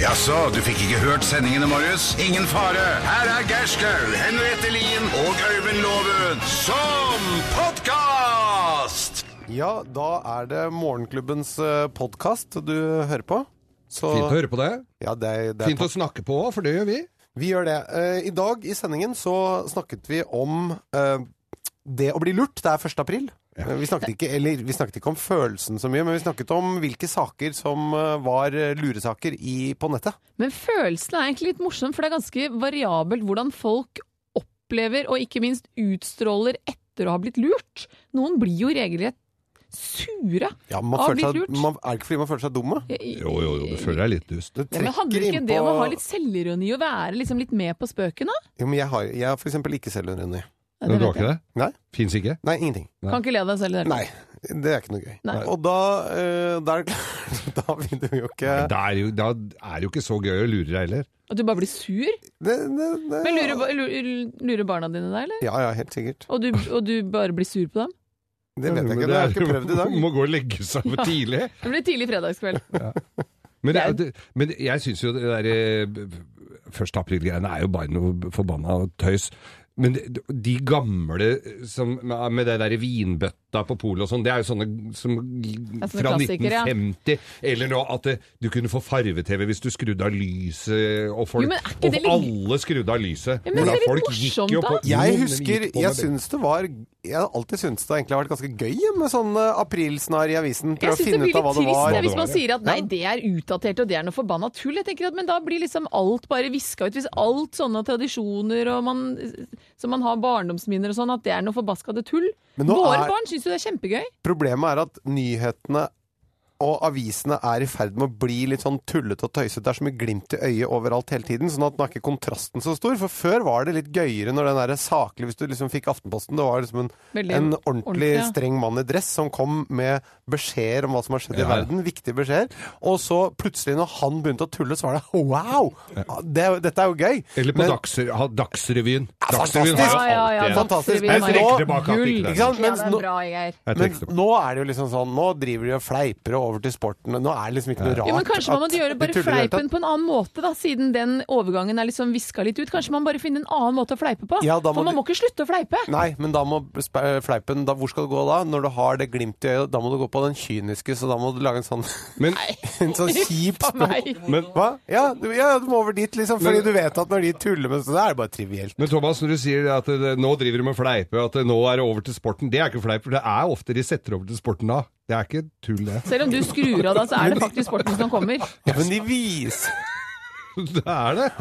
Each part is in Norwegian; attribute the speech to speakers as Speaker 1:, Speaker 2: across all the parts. Speaker 1: Jaså, du fikk ikke hørt sendingene, Marius? Ingen fare. Her er Gerskaug, Henriette Lien og Øyvind Loven som podkast!
Speaker 2: Ja, da er det Morgenklubbens eh, podkast du hører på. Så,
Speaker 3: Fint å høre på det.
Speaker 2: Ja, det, er- det er
Speaker 3: Fint å snakke på òg, for det gjør vi.
Speaker 2: Vi gjør det. Eh, I dag i sendingen så snakket vi om eh, det å bli lurt. Det er 1. april. Eh, Vi snakket, ikke, eller, vi snakket ikke om følelsen så mye, men vi snakket om hvilke saker som eh, var eh, luresaker i, på nettet.
Speaker 4: Men følelsen er egentlig litt morsom, for det er ganske variabelt hvordan folk opplever og ikke minst utstråler etter å ha blitt lurt. Noen blir jo regelrett sure.
Speaker 2: Ja, man
Speaker 4: Av
Speaker 2: føler seg,
Speaker 4: blitt lurt.
Speaker 2: man, er det ikke fordi man føler seg dumme?
Speaker 3: Jo, jo, jo,
Speaker 2: Eh,
Speaker 3: du føler deg litt dust.
Speaker 2: Du
Speaker 4: Ja, men handler
Speaker 2: trekker
Speaker 4: ikke
Speaker 2: inn
Speaker 4: det om
Speaker 2: på-
Speaker 4: å ha litt selvironi og være liksom litt med på spøken, da?
Speaker 2: Jo, men jeg har, jeg har for eksempel ikke selvironi.
Speaker 4: Ja,
Speaker 3: Men
Speaker 4: det
Speaker 3: du har
Speaker 4: vet jeg.
Speaker 3: ikke det?
Speaker 2: Nei.
Speaker 3: Fins ikke?
Speaker 2: Nei, ingenting.
Speaker 4: Kan ikke le av deg selv i det hele tatt.
Speaker 2: Nei, det er ikke noe gøy.
Speaker 4: Nei.
Speaker 2: Og da, eh, da er det klart Da vil du jo ikke
Speaker 3: Da er, jo, da er det jo ikke så gøy å lure deg heller.
Speaker 4: At du bare blir sur?
Speaker 2: det, det, det,
Speaker 4: Men lurer, ba- lurer- lurer barna dine deg, eller?
Speaker 2: Ja, ja, helt sikkert.
Speaker 4: Og du, og du bare blir sur på dem?
Speaker 2: Det vet jeg ikke. Det har jeg ikke prøvd i dag.
Speaker 3: Må gå og legge seg for tidlig.
Speaker 4: Det blir tidlig fredagskveld.
Speaker 3: Men, det, er- det, men jeg syns jo det der eh, 1. april-greiene er jo bare noe forbanna tøys. Men de- de gamle eh, som, med det der vinbøtta på polet og sånn, det er jo sånne som
Speaker 4: er sånne
Speaker 3: fra
Speaker 4: klassikere, ja.
Speaker 3: 1950. Eller nå at eh, du kunne få farve-TV hvis du skrudde av lyset, og, folk,
Speaker 4: Jo, men er ikke det
Speaker 3: og
Speaker 4: litt-
Speaker 3: alle skrudde av lyset.
Speaker 4: Ja, men
Speaker 3: Hvordan
Speaker 4: det er litt
Speaker 3: folk gikk
Speaker 4: morsomt,
Speaker 3: jo
Speaker 4: da.
Speaker 3: på-
Speaker 2: Jeg
Speaker 3: Jo, men vi
Speaker 2: husker,
Speaker 3: gikk på
Speaker 2: jeg
Speaker 3: med-
Speaker 2: syns det var Jeg har alltid syntes det egentlig har vært ganske gøy med sånn eh, aprilsnarr i avisen. Prøv
Speaker 4: Jeg
Speaker 2: å
Speaker 4: syns det
Speaker 2: finne
Speaker 4: blir
Speaker 2: ut av hva
Speaker 4: litt
Speaker 2: det
Speaker 4: trist
Speaker 2: var.
Speaker 4: jeg, hvis man
Speaker 3: Ja.
Speaker 4: sier at nei, det er utdatert og det er noe forbanna tull. Jeg tenker at, Men da blir liksom alt bare viska ut. Hvis alt sånne tradisjoner og man, som man har barndomsminner og sånn, at det er noe forbaskede tull.
Speaker 2: Men nå
Speaker 4: Våre
Speaker 2: er-
Speaker 4: barn syns jo det er kjempegøy.
Speaker 2: Problemet er at nyhetene og avisene er i ferd med å bli litt sånn tullete og tøysete. Det er så mye glimt i øyet overalt hele tiden, sånn at nå er ikke kontrasten så stor. For før var det litt gøyere når den der saklig, hvis du liksom fikk Aftenposten, det var liksom en,
Speaker 4: Veldig
Speaker 2: en ordentlig
Speaker 4: ordentlig, ja.
Speaker 2: streng mann i dress som kom med beskjeder om hva som har skjedd
Speaker 3: Ja.
Speaker 2: i verden, viktige beskjeder. Og så plutselig, når han begynte å tulle, så var det wow! Det, er jo- dette er jo gøy.
Speaker 3: Eller på
Speaker 2: Men-
Speaker 3: Dagsrevyen. ha- Dagsrevyen.
Speaker 2: Ja,
Speaker 3: Dagsrevyen har jo
Speaker 2: fantastisk!
Speaker 4: Ja, ja,
Speaker 3: alltid
Speaker 4: ja,
Speaker 3: en-
Speaker 2: Fantastisk.
Speaker 3: Jeg
Speaker 4: Dagsrevyen
Speaker 3: trekker
Speaker 2: har-
Speaker 3: tilbake at det
Speaker 2: Ikke
Speaker 3: ikke er
Speaker 2: sant? Mens nå,
Speaker 4: Geir.
Speaker 2: men
Speaker 3: Jeg trekker tilbake.
Speaker 2: nå er det jo liksom sånn Nå driver de og fleiper og over til sporten. og Nå er det liksom ikke noe rart.
Speaker 4: Jo, men Kanskje man må
Speaker 2: at
Speaker 4: gjøre
Speaker 2: de
Speaker 4: bare
Speaker 2: tuller i det hele
Speaker 4: fleipen på en annen måte, da, siden den overgangen er liksom viska litt ut. Kanskje man bare finner en annen måte å fleipe på.
Speaker 2: Ja, da må
Speaker 4: For man
Speaker 2: du-
Speaker 4: må ikke slutte å fleipe.
Speaker 2: tatt. Nei, men da må spe- fleipen da, Hvor skal du gå da? Når du har det glimtet i øyet, da må du gå på den kyniske, så da må du lage en sånn,
Speaker 3: Men,
Speaker 2: en sånn kjip
Speaker 4: Faen meg.
Speaker 3: men
Speaker 2: Hva? Ja du, ja, du må over dit, liksom. Fordi
Speaker 3: Men-
Speaker 2: du vet at når de tuller med sånn, så er det bare trivielt.
Speaker 3: Men Thomas, når du sier at det, nå driver de med fleipe, at det, nå er det over til sporten, det er ikke fleip, for det er ofte de setter over til sporten da. Det er ikke tull, det.
Speaker 4: Selv om du skrur av da, så er det faktisk sporten som kommer.
Speaker 2: Ja, men de viser
Speaker 3: Det er det.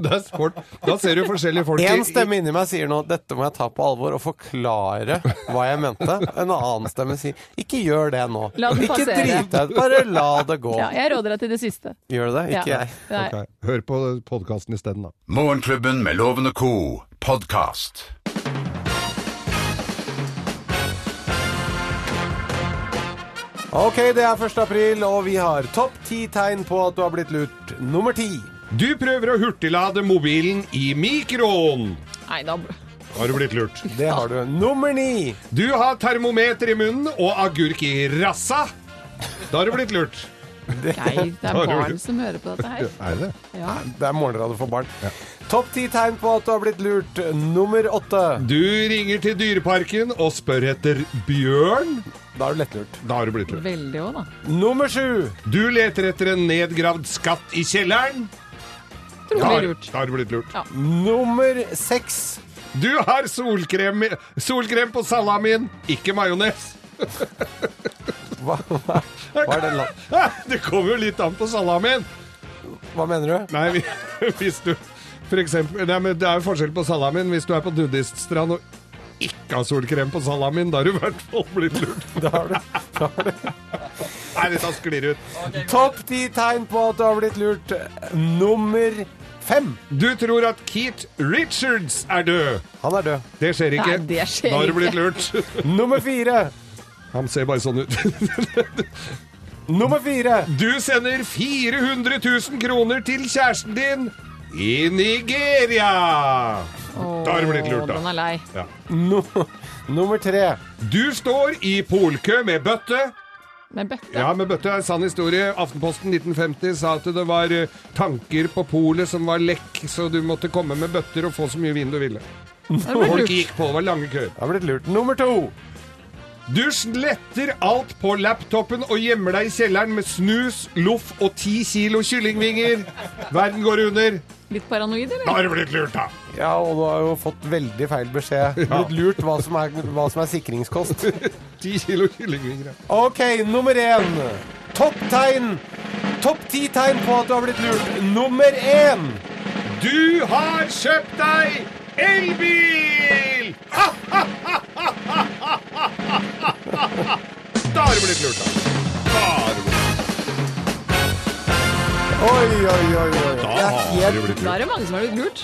Speaker 3: Det er sport. Da ser du forskjellige folk
Speaker 2: En stemme inni meg sier nå dette må jeg ta på alvor og forklare hva jeg mente. En annen stemme sier ikke gjør det nå.
Speaker 4: La den
Speaker 2: Ikke
Speaker 4: passere.
Speaker 2: drit deg ut, bare la det gå.
Speaker 4: Ja, jeg råder deg til det siste.
Speaker 2: Gjør du det? Ikke
Speaker 4: ja.
Speaker 2: jeg.
Speaker 4: Nei.
Speaker 3: Ok, Hør på podkasten isteden, da.
Speaker 1: Morgenklubben med Loven og co. podkast.
Speaker 2: Ok, det er 1. april, og vi har topp ti tegn på at du har blitt lurt. Nummer ti.
Speaker 3: Du prøver å hurtiglade mobilen i mikroen.
Speaker 4: Nei, da
Speaker 3: Har du blitt lurt?
Speaker 2: Det har du. Nummer ni.
Speaker 3: Du har termometer i munnen og agurk i rassa. Da har du blitt lurt.
Speaker 4: Geir, det er
Speaker 3: Da er det
Speaker 4: barn
Speaker 3: vel-
Speaker 4: som hører på dette her.
Speaker 3: Er det?
Speaker 4: Ja.
Speaker 2: Det er morgenradio for barn. Topp ti tegn på at du har blitt lurt. Nummer åtte.
Speaker 3: Du ringer til Dyreparken og spør etter bjørn.
Speaker 2: Da er du lettlurt.
Speaker 3: Da har du blitt lurt.
Speaker 4: Veldig òg, da.
Speaker 2: Nummer sju.
Speaker 3: Du leter etter en nedgravd skatt i kjelleren. Da
Speaker 4: Trolig
Speaker 3: har-
Speaker 4: lurt.
Speaker 3: Da har du blitt lurt.
Speaker 2: Nummer seks.
Speaker 3: Du har solkrem, solkrem på salamien, ikke majones.
Speaker 2: Hva, hva, hva, er det, la-
Speaker 3: Ah, Det kommer jo litt an på salamien.
Speaker 2: hva mener du?
Speaker 3: Nei, vi- hvis du for eksempel, nei, men Det er jo forskjell på salamien. Hvis du er på nudiststrand og ikke har solkrem på salamien, da har du i hvert fall blitt lurt.
Speaker 2: Da har du.
Speaker 3: Nei, dette sklir ut.
Speaker 2: Topp ti tegn på at du har blitt lurt. Nummer fem.
Speaker 3: Du tror at Keith Richards er død.
Speaker 2: Han er død.
Speaker 3: Det skjer ikke.
Speaker 4: Nei, det skjer
Speaker 3: da har du
Speaker 4: ikke.
Speaker 3: blitt lurt.
Speaker 2: Nummer fire.
Speaker 3: Han ser bare sånn ut.
Speaker 2: Nummer fire.
Speaker 3: Du sender 400 000 kroner til kjæresten din i Nigeria! Da har du blitt lurt,
Speaker 4: Å, Den
Speaker 3: da.
Speaker 4: er lei.
Speaker 2: No, nummer tre.
Speaker 3: Du står i polkø med bøtte.
Speaker 4: Med bøtte.
Speaker 3: Ja, med bøtte er en sann historie. Aftenposten 1950 sa at det var eh, tanker på polet som var lekk, så du måtte komme med bøtter og få så mye vin du ville.
Speaker 4: Det ble
Speaker 3: Folk
Speaker 4: lurt.
Speaker 3: gikk på, det var lange køer.
Speaker 2: Det har blitt lurt. Nummer to.
Speaker 3: Du sletter alt på laptopen og gjemmer deg i kjelleren med snus, loff og ti kilo kyllingvinger. Verden går under.
Speaker 4: Litt paranoid,
Speaker 3: Da
Speaker 4: eller?
Speaker 3: har du blitt lurt, da.
Speaker 2: Ja, og du har jo fått veldig feil beskjed. Blitt lurt hva som er, hva som er sikringskost.
Speaker 3: Ti kilo kyllingvinger. ja.
Speaker 2: Ok, nummer én. Topptegn. Topp ti tegn på at du har blitt lurt. Nummer én.
Speaker 3: Du har kjøpt deg elbil! Ha, ha, ha, ha, ha, ha, ha, ha, ha, ha. Da har du blitt lurt, da. Da har du blitt lurt.
Speaker 2: Oi, oi, oi. oi.
Speaker 3: Da
Speaker 2: Det er
Speaker 3: har du
Speaker 2: helt
Speaker 3: blitt
Speaker 4: Da
Speaker 3: lurt.
Speaker 4: er det mange som har blitt lurt.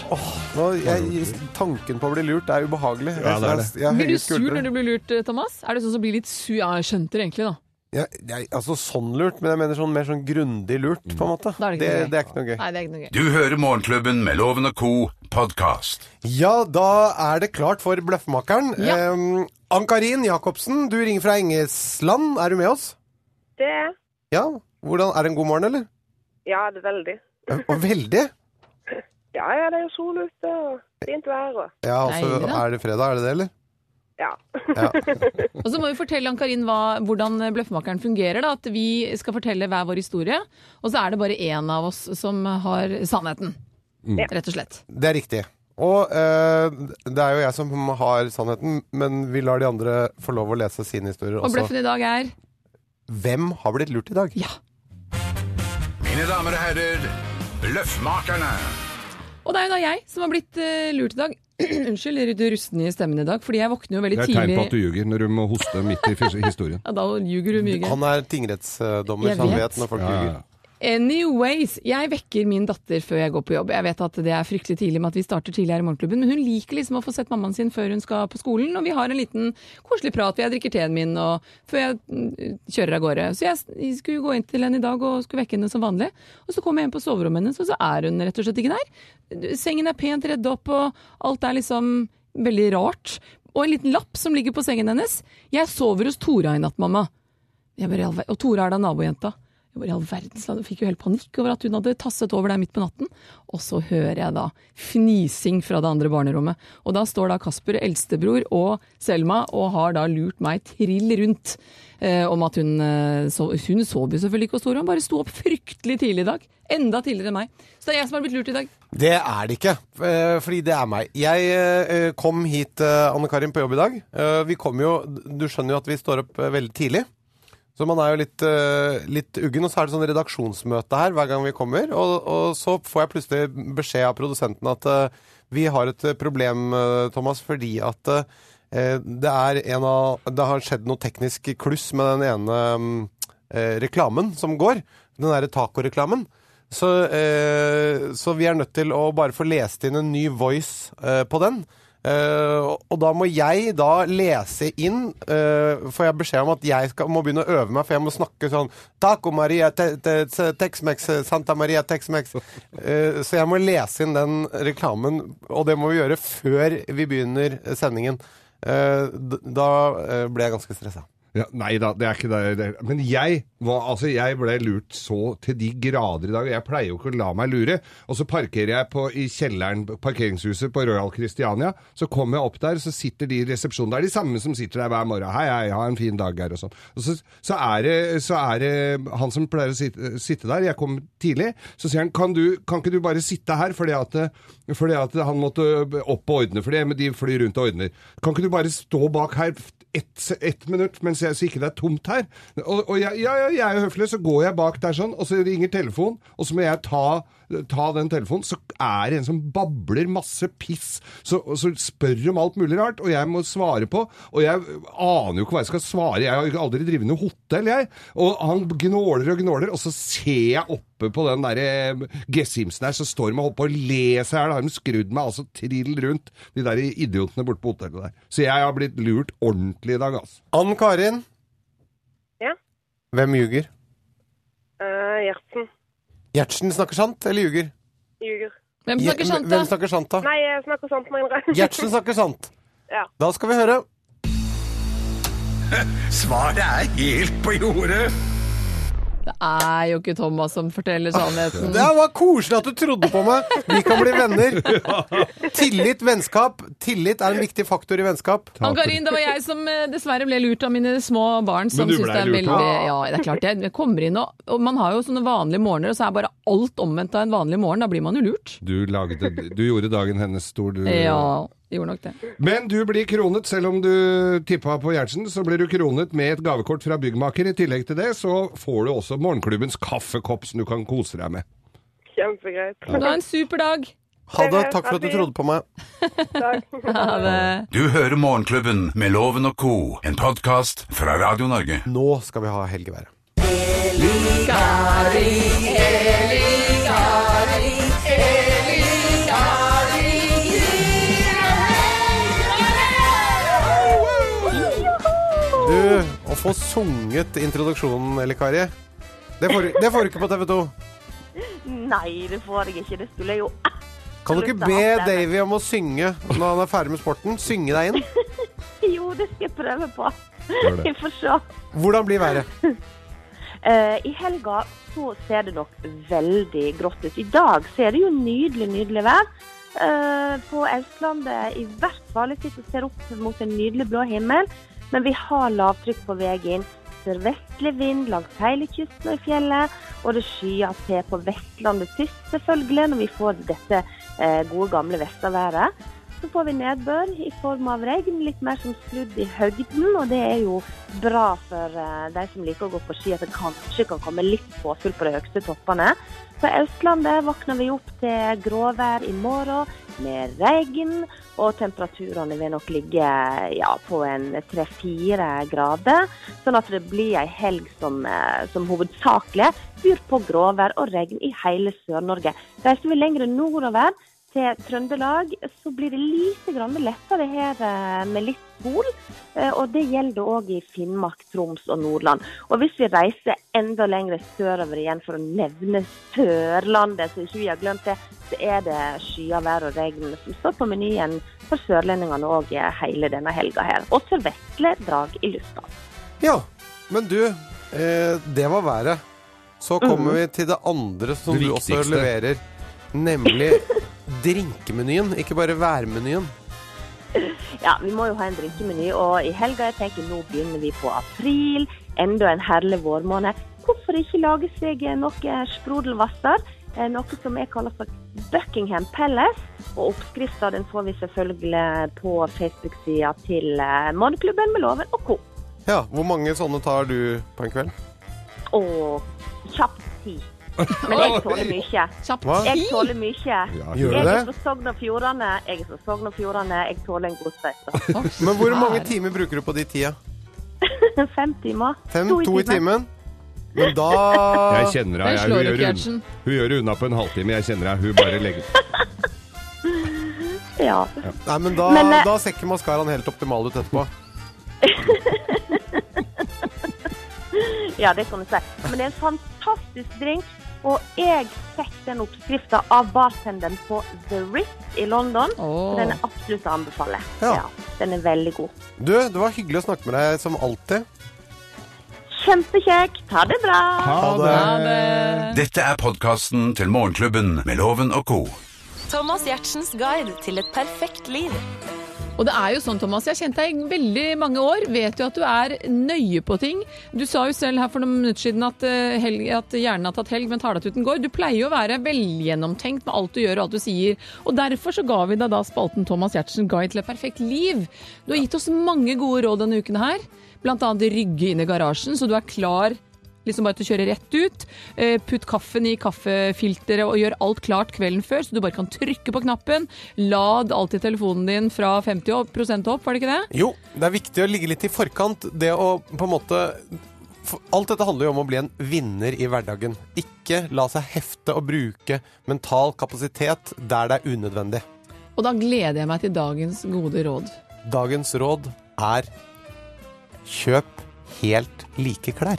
Speaker 2: nå, jeg, Tanken på å bli lurt er ubehagelig.
Speaker 3: Ja, det er det.
Speaker 2: Jeg- jeg har
Speaker 4: Blir
Speaker 2: høye
Speaker 4: du sur
Speaker 2: skuldre.
Speaker 4: når du blir lurt, Thomas? Er du sånn som blir litt sur? Ja, jeg skjønte det egentlig, da.
Speaker 2: Jeg, jeg, altså sånn lurt, men jeg mener sånn mer sånn grundig lurt, på en måte.
Speaker 4: Da er det ikke
Speaker 2: det,
Speaker 4: gøy.
Speaker 2: det er ikke noe gøy.
Speaker 4: Nei, det er ikke noe gøy.
Speaker 1: Du hører Morgenklubben med Loven og Co. podkast.
Speaker 2: Ja, da er det klart for Bløffmakeren.
Speaker 4: Ja.
Speaker 2: Eh, Ann-Karin Jacobsen, du ringer fra Engesland. Er du med oss?
Speaker 5: Det er
Speaker 2: Ja. Hvordan, er det en god morgen, eller?
Speaker 5: Ja, det er veldig.
Speaker 2: Eh, Og veldig.
Speaker 5: Ja, ja, det er jo sol ute og fint vær og
Speaker 2: Ja, altså,
Speaker 4: Deilig, da.
Speaker 2: er det fredag, er det det, eller?
Speaker 5: Ja.
Speaker 4: Og så må vi fortelle Ann-Karin hva- hvordan Bløffmakeren fungerer. da, At vi skal fortelle hver vår historie, og så er det bare én av oss som har sannheten.
Speaker 3: Mm.
Speaker 4: Rett og slett.
Speaker 2: Det er riktig. Og eh, det er jo jeg som har sannheten, men vi lar de andre få lov å lese sine historier
Speaker 4: Og
Speaker 2: også.
Speaker 4: bløffen i dag er
Speaker 2: Hvem har blitt lurt i dag?
Speaker 4: ja.
Speaker 1: Mine damer og herrer, Bløffmakerne.
Speaker 4: Og det er jo da jeg som har blitt eh, lurt i dag. Unnskyld, litt rusten i stemmen i dag, fordi jeg våkner jo veldig
Speaker 3: Det er tegn
Speaker 4: tidlig.
Speaker 3: på at du ljuger når du må hoste midt i fis- historien.
Speaker 4: Ja, da ljuger du mye. gøy.
Speaker 2: Han er tingrettsdommer,
Speaker 4: Jeg
Speaker 2: så han
Speaker 4: vet.
Speaker 2: vet når folk
Speaker 3: Ja, ja,
Speaker 2: ljuger.
Speaker 3: ja.
Speaker 4: Eh, Anyways, jeg vekker min datter før jeg går på jobb. Jeg vet at det er fryktelig tidlig med at vi starter tidlig her i morgenklubben, men hun liker liksom å få sett mammaen sin før hun skal på skolen, og vi har en liten koselig prat. Jeg drikker teen min og før jeg mm, kjører av gårde. Så jeg s- skulle gå inn til henne i dag og skulle vekke henne som vanlig, og så kom jeg inn på soverommet hennes, og så er hun rett og slett ikke der. Sengen er pent redd opp, og alt er liksom veldig rart. Og en liten lapp som ligger på sengen hennes. Jeg sover hos Tora i natt, mamma. Jeg bare, i all ver- og Tora er da nabojenta. Jeg bare, i all verdens land, jeg fikk jo helt panikk over at hun hadde tasset over der midt på natten. Og så hører jeg da fnising fra det andre barnerommet. Og da står da Kasper, eldstebror, og Selma og har da lurt meg trill rundt eh, om at hun eh, sov. Hun sov jo selvfølgelig ikke hos Tora, hun bare sto opp fryktelig tidlig i dag. Enda tidligere enn meg. Så det er jeg som har blitt lurt i dag.
Speaker 2: Det er det ikke, eh, fordi det er meg. Jeg eh, kom hit, eh, Anne-Karin, på jobb i dag. Eh, Vi kom jo, Du skjønner jo at vi står opp eh, veldig tidlig. Så man er jo litt, eh, litt uggen, og så er det sånn redaksjonsmøte her hver gang vi kommer. Og, og så får jeg plutselig beskjed av produsenten at eh, vi har et eh, problem, eh, Thomas, fordi at eh, det, er en av, det har skjedd noe teknisk kluss med den ene mm, eh, reklamen som går. Den derre tacoreklamen. Så, eh, så vi er nødt til å bare få lest inn en ny voice eh, på den. Eh, og, og da må jeg da lese inn eh, Får jeg beskjed om at jeg skal, må begynne å øve meg, for jeg må snakke sånn Taco Maria te, te, te, Tex-Mex, eh, Santa Maria Tex-Mex. Eh, så jeg må lese inn den reklamen, og det må vi gjøre før vi begynner sendingen. Eh, d- da eh, ble jeg ganske stressa.
Speaker 3: Ja, nei da, det er ikke det. det er. Men jeg, var, altså, jeg ble lurt så til de grader i dag. og Jeg pleier jo ikke å la meg lure. Og så parkerer jeg på, i kjelleren, parkeringshuset på Royal Christiania. Så kommer jeg opp der, så sitter de i resepsjonen. Det er de samme som sitter der hver morgen. Hei, hei, ha en fin dag her og sånn. Og så, så, er det, så er det han som pleier å sitte, sitte der. Jeg kom tidlig. Så sier han, kan, du, kan ikke du bare sitte her? Fordi at, fordi at han måtte opp og ordne for det, men de flyr rundt og ordner. Kan ikke du bare stå bak her? ett et minutt mens jeg, så ikke det er tomt her. Og, og jeg, ja, ja, jeg er jo høflig, så går jeg bak der sånn, og så ringer telefonen, og så må jeg ta, ta den telefonen, så er det en som babler masse piss, så, og så spør om alt mulig rart, og jeg må svare på, og jeg aner jo ikke hva jeg skal svare, jeg har jo aldri drivet noe hotell, jeg, og han gnåler og gnåler, og så ser jeg oppe på den der eh, Gessimsen her, så står de og holder på å le seg her, da har de skrudd meg altså trill rundt, de der idiotene borte på hotellet der. Så jeg har blitt lurt ordentlig i dag, altså.
Speaker 2: Ann-Karin,
Speaker 5: ja.
Speaker 2: hvem ljuger?
Speaker 5: Eh, Gjertsen
Speaker 2: Gjertsen snakker sant eller ljuger?
Speaker 5: ljuger.
Speaker 4: Hvem
Speaker 2: Je-
Speaker 4: snakker sant,
Speaker 2: Hvem
Speaker 4: da?
Speaker 2: snakker sant, da?
Speaker 5: Nei, jeg snakker sant, mener jeg.
Speaker 2: Gjertsen snakker sant.
Speaker 5: Ja.
Speaker 2: Da skal vi høre.
Speaker 1: Svaret er helt på jordet.
Speaker 4: Det er jo ikke Thomas som forteller sannheten.
Speaker 2: Det var koselig at du trodde på meg! Vi kan bli venner. Tillit, vennskap. Tillit er en viktig faktor i vennskap.
Speaker 4: Ann Karin, det var jeg som eh, dessverre ble lurt av mine små barn. Som
Speaker 3: Men du
Speaker 4: synes
Speaker 3: ble
Speaker 4: det er
Speaker 3: lurt
Speaker 4: veldig,
Speaker 3: av?
Speaker 4: Ja, det er klart jeg, jeg kommer inn og, og Man har jo sånne vanlige morgener, og så er bare alt omvendt av en vanlig morgen. Da blir man jo lurt.
Speaker 3: Du, lagde, du gjorde dagen hennes stor, du.
Speaker 4: Ja, gjorde nok det.
Speaker 3: Men du blir kronet, selv om du tippa på Gjertsen, så blir du kronet med et gavekort fra byggmaker. I tillegg til det så får du også morgenklubbens kaffekopp som du kan kose deg med.
Speaker 5: Kjempegreit.
Speaker 4: Du har en super dag.
Speaker 2: Ha det. Takk for at du trodde på meg.
Speaker 5: Takk.
Speaker 4: Ha det.
Speaker 1: Du hører Morgenklubben med Loven og co., en podkast fra Radio Norge.
Speaker 2: Nå skal vi ha Helge Være. Du, å få sunget introduksjonen, eller Kari Det får det får du ikke på TV 2.
Speaker 6: Nei, det får jeg ikke. Det skulle jeg jo
Speaker 2: Kan du ikke be Davy om å synge når han er ferdig med sporten? Synge deg inn?
Speaker 6: Jo, det skal jeg prøve på.
Speaker 3: Gjør det.
Speaker 6: Vi får se.
Speaker 2: Hvordan blir været?
Speaker 6: Eh, I helga så ser det nok veldig grått ut. I dag ser det jo nydelig, nydelig vær. Eh, på Østlandet i hvert fall. Jeg sitter og ser opp mot en nydelig blå himmel. Men vi har lavtrykk på veien. Sørvestlig vind langs hele kysten og i fjellet. Og det skyer til på Vestlandet sist, selvfølgelig, når vi får dette eh, gode, gamle vestaværet. Så får vi nedbør i form av regn, litt mer som sludd i høgden. Og det er jo bra for eh, de som liker å gå på ski, at det kanskje kan komme litt påfyll på de høyeste toppene. På Østlandet våkner vi opp til gråvær i morgen med regn, og temperaturene vil nok ligge ja, på en tre-fire grader. Sånn at det blir ei helg som, eh, som hovedsakelig byr på gråvær og regn i hele Sør-Norge. Reiser vi lenger nordover til Trøndelag, så blir det lite grann lettere her eh, med litt sol. Eh, Og det gjelder òg i Finnmark, Troms og Nordland. Og hvis vi reiser enda lenger sørover igjen for å nevne Sørlandet, så ikke vi har glemt det, så er det skyer, vær og regn som står på menyen for sørlendingene òg hele denne helga her. Og sørvestlig drag i lufta.
Speaker 2: Ja, men du, eh, det var været. Så kommer vi til det andre som
Speaker 3: Mhm. Det
Speaker 2: du også
Speaker 3: viktigste.
Speaker 2: leverer, nemlig drinkemenyen, ikke bare værmenyen.
Speaker 6: Ja, vi må jo ha en drinkemeny, og i helga jeg tenker nå begynner vi på april. Enda en herlig vårmåned. Hvorfor ikke lage seg noe sprudelvasser? Eh, Noe som er kalt for Buckingham Palace. Og oppskrifta den får vi selvfølgelig eh, på Facebook-sida til eh, Morgenklubben med Loven og co.
Speaker 2: Ja, Hvor mange sånne tar du på en kveld?
Speaker 6: Og kjapt ti. Men jeg tåler mye.
Speaker 4: Kjapt.
Speaker 2: Hva?
Speaker 6: Jeg tåler mye.
Speaker 2: Gjør
Speaker 6: Jeg
Speaker 2: du
Speaker 6: er
Speaker 2: det?
Speaker 6: fra Sogn og Fjordane. Jeg er fra Sogn og Fjordane. Jeg tåler en god støyt.
Speaker 2: Men hvor mange timer bruker du på de tida?
Speaker 6: Fem timer.
Speaker 2: Fem?
Speaker 6: To i
Speaker 2: To i
Speaker 6: timen.
Speaker 2: timen? Men da
Speaker 3: Jeg kjenner
Speaker 4: Den
Speaker 3: deg.
Speaker 4: slår
Speaker 3: hun,
Speaker 4: ikke
Speaker 3: gjør
Speaker 4: Gjertsen.
Speaker 3: unna, hun gjør det unna på en halvtime. Jeg kjenner deg. Hun bare legger
Speaker 6: Ja.
Speaker 2: Nei, men da,
Speaker 6: Men, eh,
Speaker 2: da ser ikke maskaraen helt optimal ut etterpå.
Speaker 6: Ja, det kan du si. Men det er en fantastisk drink. Og jeg fikk den oppskrifta av bartenderen på The Ritz i London.
Speaker 4: Åh.
Speaker 6: Så den er absolutt å anbefale.
Speaker 2: Ja.
Speaker 6: Den er veldig god.
Speaker 2: Du, det var hyggelig å snakke med deg som alltid.
Speaker 6: Kjempekjekk. Ha det bra.
Speaker 2: Ha det.
Speaker 4: Ha det.
Speaker 1: Dette er podkasten til Morgenklubben med Loven og co.
Speaker 7: Thomas Gjertsens guide til et perfekt liv.
Speaker 4: Og det er jo sånn, Thomas, jeg har kjent deg i veldig mange år, vet jo at du er nøye på ting. Du sa jo selv her for noen minutter siden at, eh, helg, at hjernen har tatt helg, men tar deg til uten går. Du pleier jo å være velgjennomtenkt med alt du gjør og alt du sier. Og derfor så ga vi deg da spalten Thomas Gjertsen guide til et perfekt liv. Du har gitt oss mange gode råd denne uken her, blant annet rygge inn i garasjen, så du er klar Liksom bare til å kjøre rett ut. Eh, Putt kaffen i kaffefilteret og gjør alt klart kvelden før, så du bare kan trykke på knappen. Lad alltid telefonen din fra 50 opp- prosent opp, var det ikke det?
Speaker 2: Jo, det er viktig å ligge litt i forkant. Det å på en måte for Alt dette handler jo om å bli en vinner i hverdagen. Ikke la seg hefte og bruke mental kapasitet der det er unødvendig.
Speaker 4: Og da gleder jeg meg til dagens gode råd.
Speaker 2: Dagens råd er kjøp helt like klær.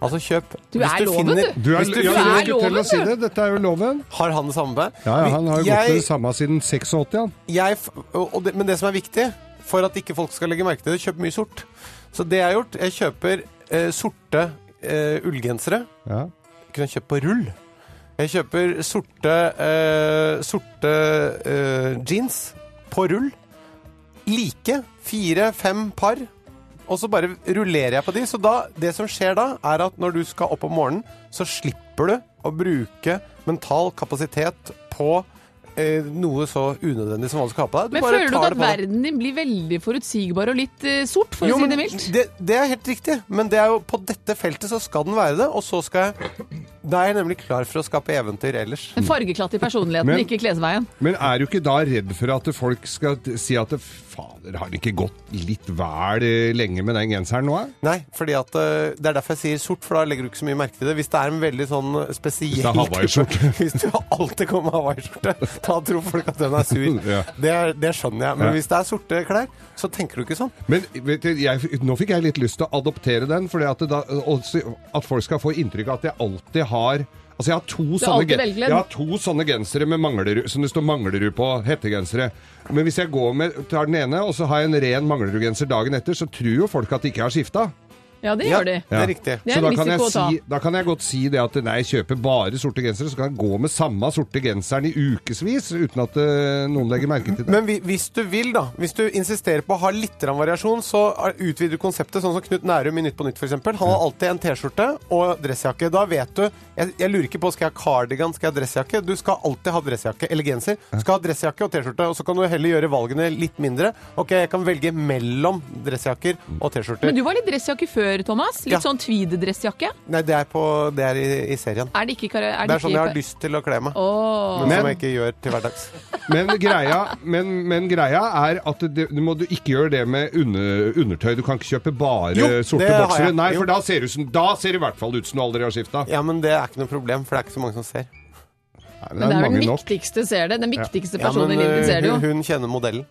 Speaker 2: Altså kjøp
Speaker 4: Du er loven, du.
Speaker 3: Du er,
Speaker 2: hvis du
Speaker 3: ja,
Speaker 4: du
Speaker 2: finner,
Speaker 4: er
Speaker 3: jeg skulle til å
Speaker 4: loven,
Speaker 3: si
Speaker 4: du.
Speaker 3: det. Dette er jo loven.
Speaker 2: Har han det samme?
Speaker 3: Ja, ja, han har jo gått
Speaker 2: Jeg-
Speaker 3: til det samme siden 86, han.
Speaker 2: jeg, f- og det, men det som er viktig for at ikke folk skal legge merke til det, kjøp mye sort. Så det jeg har gjort, jeg kjøper eh, sorte eh, ullgensere.
Speaker 3: Ja.
Speaker 2: Kunne jeg kjøpt på rull. Jeg kjøper sorte, eh, sorte eh, jeans på rull. Like fire-fem par. Og så bare rullerer jeg på de. Så da, det som skjer da, er at når du skal opp om morgenen, så slipper du å bruke mental kapasitet på eh, noe så unødvendig som hva du skal ha på deg.
Speaker 4: Men
Speaker 2: bare
Speaker 4: føler du
Speaker 2: tar
Speaker 4: ikke
Speaker 2: det
Speaker 4: at
Speaker 2: på deg.
Speaker 4: verden din blir veldig forutsigbar og litt eh, sort, for
Speaker 2: Jo,
Speaker 4: å si
Speaker 2: men
Speaker 4: det mildt?
Speaker 2: Det, det er helt riktig, men det er jo, på dette feltet så skal den være det, og så skal jeg Da er jeg nemlig klar for å skape eventyr ellers.
Speaker 4: En fargeklatt i personligheten,
Speaker 3: Men-
Speaker 4: ikke klesveien.
Speaker 3: Men er du ikke da redd for at folk skal t- si at det- fader, har det ikke gått litt vel eh, lenge med den genseren nå? eh?
Speaker 2: Nei, fordi at eh, det er derfor jeg sier sort, for da legger du ikke så mye merke til det. Hvis det er en veldig sånn spesiell
Speaker 3: Hvis det er hawaiiskjorte.
Speaker 2: Hvis du alltid kommer med hawaiiskjorte, da tror folk at den er sur.
Speaker 3: Ja.
Speaker 2: Det, er, det skjønner jeg. Men
Speaker 3: Ja.
Speaker 2: hvis det er sorte klær, så tenker du ikke sånn.
Speaker 3: Men vet du, jeg, nå fikk jeg litt lyst til å adoptere den, fordi at, det da, og si- at folk skal få inntrykk av at jeg alltid har Altså, jeg har to, sånne,
Speaker 4: alltid
Speaker 3: gen-
Speaker 4: velkledd.
Speaker 3: jeg har to sånne gensere med Manglerud, som det står Manglerud på, hettegensere. Men hvis jeg går med, tar den ene, og så har jeg en ren Manglerud-genser dagen etter, så tror jo folk at de ikke har skifta.
Speaker 4: Ja, det
Speaker 2: Ja.
Speaker 4: gjør de.
Speaker 2: Det er riktig.
Speaker 4: Det er
Speaker 3: så da
Speaker 4: en
Speaker 3: kan, jeg
Speaker 4: risiko å ta.
Speaker 3: si, da kan jeg godt si det at nei, jeg kjøper bare sorte gensere, så kan jeg gå med samme sorte genseren i ukevis uten at eh, noen legger merke til det.
Speaker 2: Men vi, hvis du vil, da. Hvis du insisterer på å ha litt grann variasjon, så er- utvider du konseptet. Sånn som Knut Nærum i Nytt på Nytt, f.eks. Han har alltid en T-skjorte og dressjakke. Da vet du jeg, jeg lurer ikke på skal jeg ha cardigan, skal jeg ha dressjakke. Du skal alltid ha dressjakke eller genser. Du skal ha dressjakke og T-skjorte. Og så kan du heller gjøre valgene litt mindre. Ok, jeg kan velge mellom dressjakker og T-skjorter.
Speaker 4: Men du var litt dressjakke før, Thomas. Litt
Speaker 2: Ja.
Speaker 4: sånn tweed-dressjakke.
Speaker 2: Nei, det er, på, det er i, i serien.
Speaker 4: Er det ikke kar-
Speaker 2: Det er sånn jeg har lyst til å kle meg.
Speaker 4: Åh.
Speaker 2: Men som
Speaker 3: Men-
Speaker 2: jeg ikke gjør til hverdags.
Speaker 3: Men greia, men, men greia er at det, du må du ikke gjøre det med under, undertøy. Du kan ikke kjøpe bare
Speaker 2: Jo, det
Speaker 3: sorte
Speaker 2: har
Speaker 3: boksere.
Speaker 2: jeg.
Speaker 3: Nei,
Speaker 2: Jo.
Speaker 3: for da ser, du som, da ser det i hvert fall ut som du aldri har skifta.
Speaker 2: Ja, men det er ikke noe problem, for det er ikke så mange som ser.
Speaker 3: Men
Speaker 4: Men
Speaker 3: det er
Speaker 4: vel
Speaker 3: mange
Speaker 4: den
Speaker 3: nok.
Speaker 4: viktigste ser det. Den viktigste
Speaker 2: Ja,
Speaker 4: personen
Speaker 2: men
Speaker 4: i livet ditt
Speaker 2: øh,
Speaker 4: ser det jo.
Speaker 2: hun, hun kjenner modellen.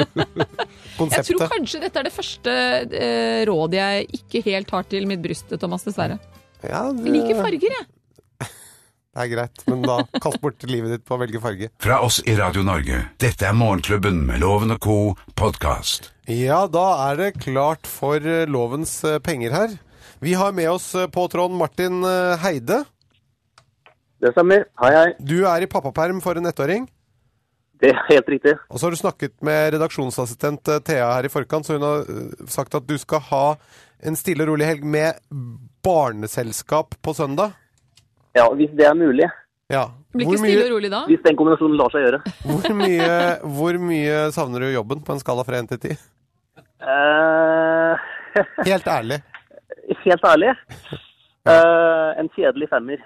Speaker 4: Jeg tror
Speaker 2: Konseptet.
Speaker 4: kanskje dette er det første eh, rådet jeg ikke helt har til mitt bryst, Thomas, dessverre.
Speaker 2: Ja,
Speaker 4: Jeg liker
Speaker 2: det
Speaker 4: farger, jeg.
Speaker 2: er greit, men da kast bort livet ditt på å velge farge.
Speaker 1: Fra oss i Radio Norge. Dette er Morgenklubben med Loven og co. podkast.
Speaker 2: Ja, da er det klart for eh, lovens eh, penger her. Vi har med oss eh, på tråden Martin eh, Heide.
Speaker 8: Det stemmer. Hei, hei.
Speaker 2: Du er i pappaperm for en ettåring.
Speaker 8: Det er helt riktig.
Speaker 2: Og så har du snakket med redaksjonsassistent eh, Thea her i forkant, så hun har eh, sagt at du skal ha en stille og rolig helg med barneselskap på søndag.
Speaker 8: Ja, Hvis det er mulig.
Speaker 2: Ja.
Speaker 4: Blir ikke stille og rolig da.
Speaker 8: Hvis den kombinasjonen lar seg gjøre.
Speaker 2: Hvor mye, hvor mye savner du jobben på en skala fra 1 til 10?
Speaker 8: Eh,
Speaker 2: Helt ærlig.
Speaker 8: helt ærlig, eh, en kjedelig femmer.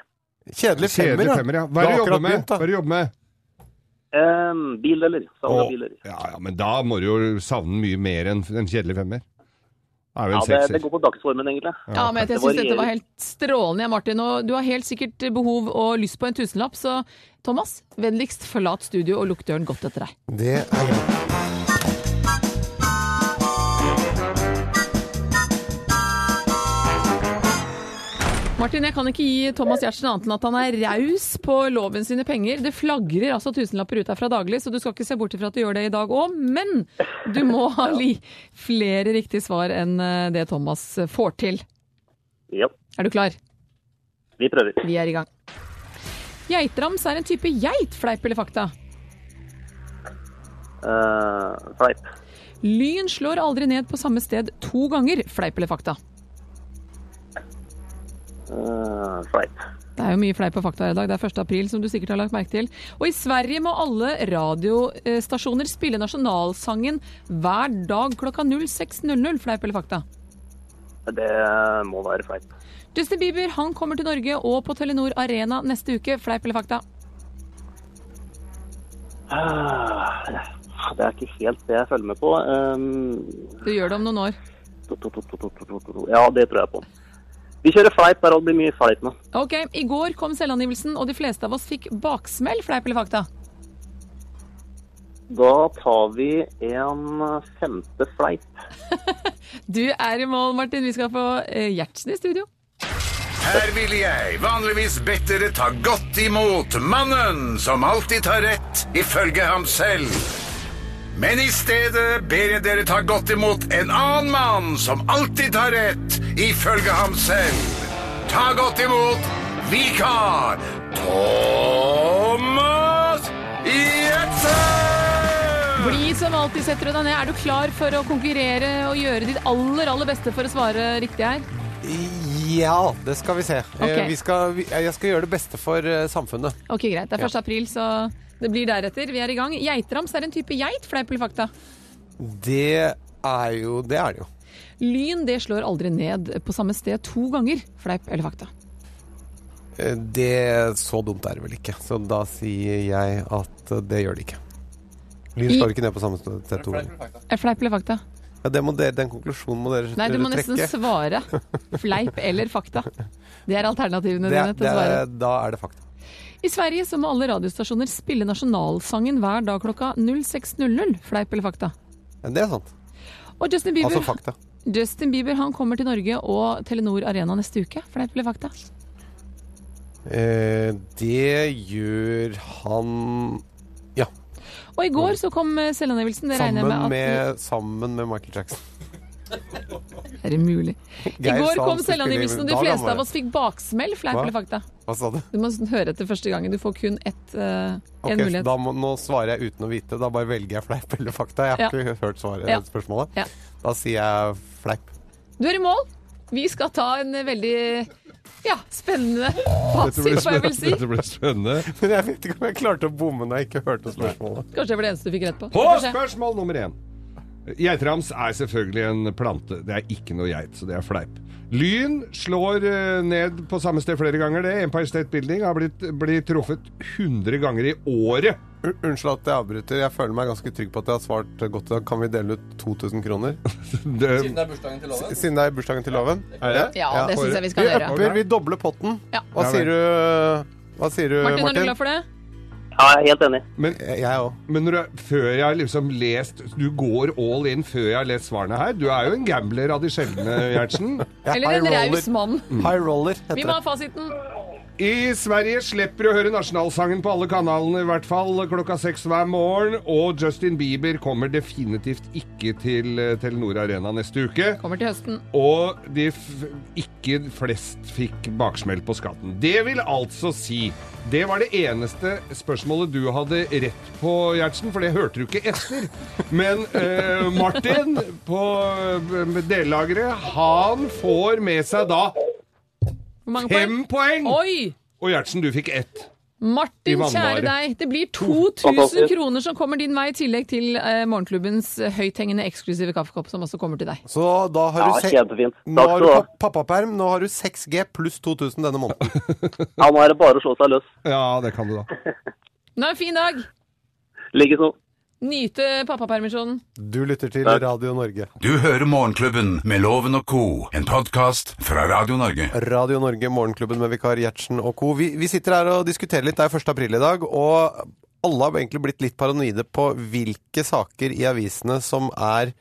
Speaker 2: Kjedelig femmer,
Speaker 3: Kjedelig femmer, ja. Hva er det du
Speaker 2: har akkurat
Speaker 3: jobber med?
Speaker 2: begynt, da.
Speaker 3: Hva er det du jobber med?
Speaker 8: Uh, bildeler. Savna
Speaker 3: Å,
Speaker 8: bildeler.
Speaker 3: ja, ja, men da må du jo savne den mye mer enn en kjedelig femmer. Det er jo
Speaker 8: Ja,
Speaker 3: en
Speaker 8: det, det
Speaker 3: sekser.
Speaker 8: går på dagsformen, egentlig.
Speaker 4: Ja, men jeg
Speaker 8: Det
Speaker 4: syns
Speaker 8: varierer.
Speaker 4: dette var helt strålende, Martin. Og du har helt sikkert behov og lyst på en tusenlapp, så Thomas, vennligst forlat studio og lukk døren godt etter deg.
Speaker 2: Det er
Speaker 4: Martin, jeg kan ikke gi Thomas Giertsen annet enn at han er raus på loven sine penger. Det flagrer altså tusenlapper ut herfra daglig, så du skal ikke se bort ifra at du gjør det i dag òg. Men du må ha li flere riktige svar enn eh, det Thomas får til.
Speaker 8: Ja,
Speaker 4: Er du klar?
Speaker 8: vi prøver.
Speaker 4: Vi er i gang. Geitrams er en type geit, fleip eller fakta.
Speaker 8: Eh, Fleip.
Speaker 4: Lyn slår aldri ned på samme sted to ganger, fleip eller fakta.
Speaker 8: Eh, fleip.
Speaker 4: Det er jo mye fleip og fakta her i dag. Det er 1. april, som du sikkert har lagt merke til. Og i Sverige må alle radiostasjoner spille nasjonalsangen hver dag klokka 06.00. Fleip eller fakta?
Speaker 8: Det må være fleip.
Speaker 4: Justin Bieber han kommer til Norge og på Telenor Arena neste uke. Fleip eller fakta?
Speaker 8: Eh, det er ikke helt det jeg følger med på. Eh,
Speaker 4: Du gjør det om noen år.
Speaker 8: to, to, to, to, to, to, to, to. ja, det tror jeg på. Vi kjører fleip, der det blir mye fleip nå.
Speaker 4: Ok, I går kom selvangivelsen, og de fleste av oss fikk baksmell. Fleip eller fakta?
Speaker 8: Da tar vi en femte fleip.
Speaker 4: Du er i mål, Martin. Vi skal få eh, Gjertsen i studio.
Speaker 1: Her ville jeg vanligvis bedt dere ta godt imot mannen som alltid tar rett, ifølge ham selv. Men i stedet ber jeg dere ta godt imot en annen mann som alltid har rett, ifølge ham selv. Ta godt imot vikar Thomas Gjertsen!
Speaker 4: Bli som alltid, setter du deg ned. Er du klar for å konkurrere og gjøre ditt aller, aller beste for å svare riktig her?
Speaker 2: Ja, det skal vi se. Eh,
Speaker 4: Ok.
Speaker 2: Vi skal, vi, jeg skal gjøre det beste for eh, samfunnet.
Speaker 4: Ok, greit. Det er 1. april, så det blir deretter. Vi er i gang. Geitrams er en type geit, fleip eller fakta.
Speaker 2: Det er jo Det er det jo.
Speaker 4: Lyn det slår aldri ned på samme sted to ganger, fleip eller fakta.
Speaker 2: Eh, Det Så dumt er det vel ikke. Så da sier jeg at eh, det gjør det ikke. Lyn
Speaker 4: I-
Speaker 2: slår ikke ned på samme sted to ganger.
Speaker 4: Eh, Fleip eller fakta?
Speaker 2: Ja, det må dere, den konklusjonen må dere,
Speaker 4: Nei, du må
Speaker 2: dere
Speaker 4: nesten
Speaker 2: trekke.
Speaker 4: svare. Fleip eller fakta. Det er alternativene
Speaker 2: Det,
Speaker 4: dine til
Speaker 2: det
Speaker 4: å svare.
Speaker 2: er, da er det fakta.
Speaker 4: I Sverige så må alle radiostasjoner spille nasjonalsangen hver dag klokka 06.00, fleip eller fakta.
Speaker 2: Ja, Det er sant.
Speaker 4: Og Justin Bieber,
Speaker 2: Altså fakta.
Speaker 4: Justin Bieber han kommer til Norge og Telenor Arena neste uke, fleip eller fakta.
Speaker 2: Eh, det gjør han
Speaker 4: Og i går så kom eh, Selda Nielsen, det regner jeg
Speaker 2: Mm.
Speaker 4: med
Speaker 2: sammen
Speaker 4: at
Speaker 2: med, sammen med Michael Jackson.
Speaker 4: Er det mulig? I
Speaker 2: Geir sa
Speaker 4: går
Speaker 2: han
Speaker 4: kom
Speaker 2: skulle spille
Speaker 4: Selda
Speaker 2: i
Speaker 4: Nielsen, og de
Speaker 2: dag, han
Speaker 4: fleste
Speaker 2: var
Speaker 4: av oss fikk baksmell, fleip
Speaker 2: Hva?
Speaker 4: eller fakta.
Speaker 2: Hva sa du?
Speaker 4: Du må høre etter første gangen. Du får kun ett, eh, en
Speaker 2: Ok, så
Speaker 4: mulighet.
Speaker 2: da må, nå svarer jeg uten å vite. Da bare velger jeg fleip eller fakta. Jeg har
Speaker 4: Ja.
Speaker 2: ikke hørt svaret,
Speaker 4: Ja.
Speaker 2: spørsmålet.
Speaker 4: Ja.
Speaker 2: Da sier jeg fleip.
Speaker 4: Du er i mål. Vi skal ta en eh, veldig ja, spennende
Speaker 3: Dette ble
Speaker 4: fasit, får jeg
Speaker 3: spennende.
Speaker 4: vel si.
Speaker 3: Dette ble spennende.
Speaker 2: Men jeg vet ikke om jeg klarte å bomme når jeg ikke hørte spørsmålet.
Speaker 4: Kanskje det var det eneste du fikk rett på.
Speaker 3: På
Speaker 4: Vi får se.
Speaker 3: spørsmål nummer én. Geitrams er selvfølgelig en plante. Det er ikke noe geit, så det er fleip. Lyn slår eh, ned på samme sted flere ganger, det. Empire State Building har blitt, blitt truffet 100 ganger i året.
Speaker 2: Un- Unnskyld at jeg avbryter. Jeg føler meg ganske trygg på at jeg har svart godt. i dag. Kan vi dele ut 2000 kroner?
Speaker 3: Det,
Speaker 2: Siden det er bursdagen til loven? Er det?
Speaker 4: Ja, det syns jeg vi
Speaker 2: Vi
Speaker 4: skal gjøre.
Speaker 2: upper, vi dobler potten.
Speaker 4: Ja.
Speaker 2: Hva sier du, hva sier du
Speaker 4: Martin, er du
Speaker 2: Martin?
Speaker 4: glad for det?
Speaker 8: Ja, jeg er helt enig.
Speaker 3: men,
Speaker 2: Jeg òg.
Speaker 3: men når du, før jeg har liksom lest Du går all in før jeg har lest svarene her. Du er jo en gambler av de sjeldne, Gjertsen.
Speaker 4: Eller en raus mann.
Speaker 2: High roller
Speaker 4: Vi
Speaker 2: heter
Speaker 4: må
Speaker 2: det.
Speaker 4: ha fasiten.
Speaker 3: I Sverige slipper du å høre nasjonalsangen på alle kanalene, i hvert fall klokka seks hver morgen. Og Justin Bieber kommer definitivt ikke til eh, Telenor Arena neste uke.
Speaker 4: Kommer til høsten.
Speaker 3: Og de f ikke flest fikk baksmell på skatten. Det vil altså si Det var det eneste spørsmålet du hadde rett på, Gjertsen, for det hørte du ikke etter. Men eh, Martin på eh, delageret, han får med seg da
Speaker 4: Hvor mange
Speaker 3: fem poeng.
Speaker 4: poeng? Oi!
Speaker 3: Og Gjertsen, du fikk ett. I
Speaker 4: Martin,
Speaker 3: vannvare.
Speaker 4: kjære deg. Det blir 2000
Speaker 8: Fantastisk.
Speaker 4: kroner som kommer din vei, i tillegg til eh, morgenklubbens eh, høythengende eksklusive kaffekopp, som også kommer til deg.
Speaker 2: Så da har
Speaker 8: Ja,
Speaker 2: du se-
Speaker 8: kjempefint.
Speaker 2: Nå
Speaker 8: Takk
Speaker 2: har
Speaker 8: skal
Speaker 2: du
Speaker 8: du ha.
Speaker 2: pa- pappaperm, nå har du 6G pluss 2000 denne måneden.
Speaker 8: Ja, nå er det bare å slå seg løs.
Speaker 3: Ja, det kan du da.
Speaker 4: Nå er en fin dag!
Speaker 8: Likeså.
Speaker 4: Nyte pappapermisjonen.
Speaker 2: Du lytter til
Speaker 8: Takk.
Speaker 2: Radio Norge.
Speaker 1: Du hører Morgenklubben med Loven og co., en podkast fra Radio Norge.
Speaker 2: Radio Norge, Morgenklubben med vikar Gjertsen og co. Vi, vi sitter her og diskuterer litt. Det er 1. april i dag, og alle har egentlig blitt litt paranoide på hvilke saker i avisene som er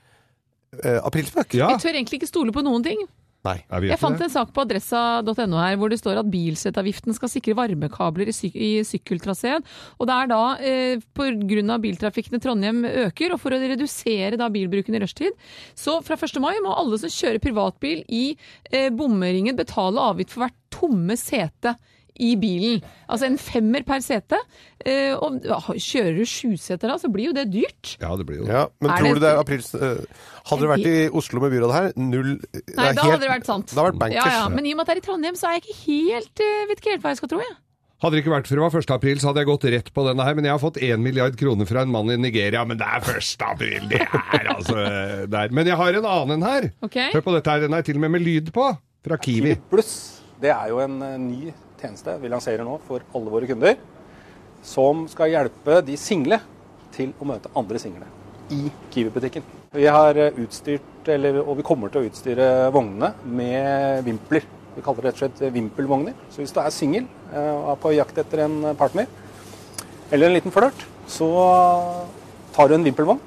Speaker 2: eh, aprilspøk.
Speaker 3: Ja,
Speaker 4: Jeg tør egentlig ikke stole på noen ting.
Speaker 2: Nei.
Speaker 3: er vi
Speaker 4: Jeg
Speaker 3: etter
Speaker 4: fant en sak på adressa.no her hvor det står at bilsettavgiften skal sikre varmekabler i, syk i sykkeltraseen. Og det er da eh, pga. biltrafikken i Trondheim øker, og for å redusere da bilbruken i rushtid, så fra 1. mai må alle som kjører privatbil i eh, bommeringen betale avgift for hvert tomme sete. I bilen. Altså en femmer per sete. Eh, og ja, kjører du sjuseter da, så blir jo det dyrt.
Speaker 3: Ja, det blir jo det.
Speaker 2: Ja, men
Speaker 4: Er
Speaker 2: tror
Speaker 4: det-
Speaker 2: du det er aprils... eh, hadde det vært i Oslo med byrådet her, null
Speaker 4: Nei, da hadde det vært sant.
Speaker 2: Det hadde vært bankers.
Speaker 4: Ja, ja, men i og med at det er i Trondheim, så er jeg ikke helt eh, Vet ikke helt hva jeg skal tro, jeg.
Speaker 3: Hadde det ikke vært for det var 1. april, så hadde jeg gått rett på denne her, men jeg har fått 1 milliard kroner fra en mann i Nigeria, men det er 1. april, det er altså eh, der. Men jeg har en annen en her.
Speaker 4: Ok?
Speaker 3: Hør på dette her, den er til og med med lyd på, fra Kiwi.
Speaker 9: Pluss, det er jo en eh, ny tjeneste vi lanserer nå for alle våre kunder, som skal hjelpe de single til å møte andre single i Kiwi-butikken. Vi har eh, utstyrt, eller, og vi kommer til å utstyre vognene med vimpler. Vi kaller det rett og slett vimpelvogner. Så hvis du er singel eh, og er på jakt etter en partner, eller en liten flørt, så tar du en vimpelvogn,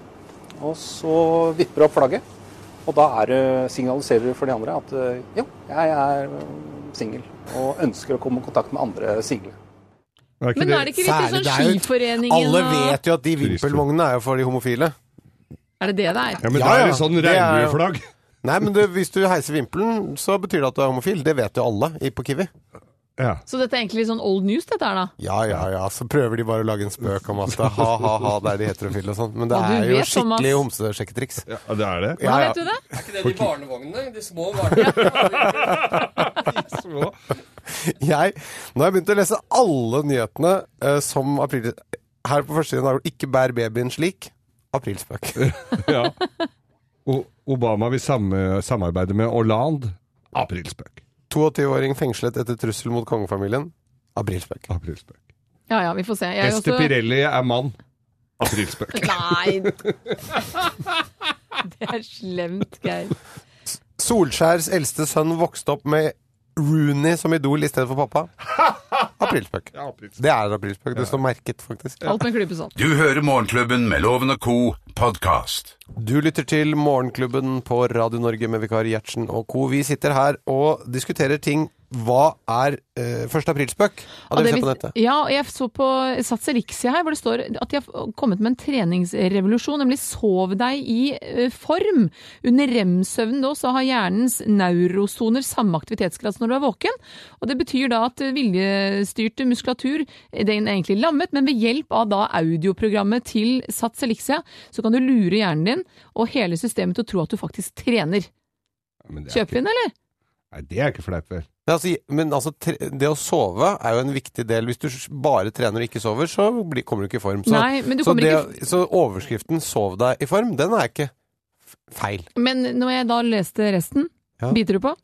Speaker 9: og så vipper du opp flagget. Og da er, det- signaliserer du for de andre at eh, ja, jeg er singel og ønsker å komme i kontakt med andre single.
Speaker 3: Er ikke
Speaker 4: Men er det ikke litt i
Speaker 2: Særlig,
Speaker 4: sånn
Speaker 2: det er jo-
Speaker 4: skiforeningen
Speaker 2: Alle
Speaker 4: og-
Speaker 2: vet jo at de
Speaker 3: Turistflå.
Speaker 2: vimpelvognene er jo for de homofile.
Speaker 4: Er det det det er?
Speaker 3: Ja, men
Speaker 2: Ja,
Speaker 3: da
Speaker 2: ja.
Speaker 3: er det sånn
Speaker 2: Det er-
Speaker 3: regnbueflagg.
Speaker 2: Nei, men du, hvis du heiser vimpelen, så betyr det at du er homofil. Det vet jo alle i- på Kiwi.
Speaker 3: Ja.
Speaker 4: Så dette er egentlig litt sånn old news, dette her, da?
Speaker 2: Ja, ja, ja. Så prøver de bare å lage en spøk om at det er ha, ha, ha, det er de heterofile og sånn. Men det
Speaker 4: Ja, du
Speaker 2: er jo
Speaker 4: vet, Thomas.
Speaker 2: skikkelig homsesjekketriks.
Speaker 3: ja, det er det.
Speaker 4: Hvordan
Speaker 2: Ja,
Speaker 4: vet du
Speaker 2: ja.
Speaker 4: det?
Speaker 10: Er ikke det de barnevognene? De små barnevognene?
Speaker 3: Så.
Speaker 2: Jeg, nå har jeg begynt å lese alle nyhetene eh, som april... Her på første siden har det 'Ikke bær babyen slik'. Aprilspøk.
Speaker 3: Ja. O- Obama vil samme- samarbeide med Hollande. Aprilspøk.
Speaker 2: 22-åring fengslet etter trussel mot kongefamilien. Aprilspøk.
Speaker 3: Aprilspøk.
Speaker 4: Ja ja, vi får se. Jeg er
Speaker 3: Este
Speaker 4: også...
Speaker 3: Pirelli er mann. Aprilspøk.
Speaker 4: Nei! Det er slemt, Geir.
Speaker 2: Solskjærs eldste sønn vokste opp med Rooney som idol i stedet for pappa. Aprilspøk.
Speaker 3: Ja, aprilspøk.
Speaker 2: Det er aprilspøk. Det står merket, faktisk.
Speaker 4: Alt med en klype sånn.
Speaker 1: Du hører Morgenklubben med Loven og Co. podkast.
Speaker 2: Du lytter til Morgenklubben på Radio Norge med vikar Gjertsen og co. Vi sitter her og diskuterer ting. Hva er eh, 1. aprilspøk? Av det vi ser på nettet.
Speaker 4: Ja, og jeg så på Sats Elixia her, hvor det står at de har kommet med en treningsrevolusjon, nemlig sov deg i eh, form. Under rem-søvn da, så har hjernens neurosoner samme aktivitetsgrad som når du er våken. Og det betyr da at eh, viljestyrte muskulatur, eh, den er egentlig lammet, men ved hjelp av da audioprogrammet til Sats Elixia, så kan du lure hjernen din og hele systemet til å tro at du faktisk trener.
Speaker 3: Men det er
Speaker 4: Kjøper vi den, eller?
Speaker 3: ikke- Nei, det er ikke flaut, vel.
Speaker 2: Det, er altså, men altså, tre, det å sove er jo en viktig del. Hvis du s- bare trener og ikke sover, så blir, kommer du ikke i form. Så,
Speaker 4: Nei, men du
Speaker 2: så,
Speaker 4: kommer
Speaker 2: så overskriften 'sov deg i form', den er ikke f- feil.
Speaker 4: Men når jeg da leste resten,
Speaker 2: Ja.
Speaker 4: biter du på?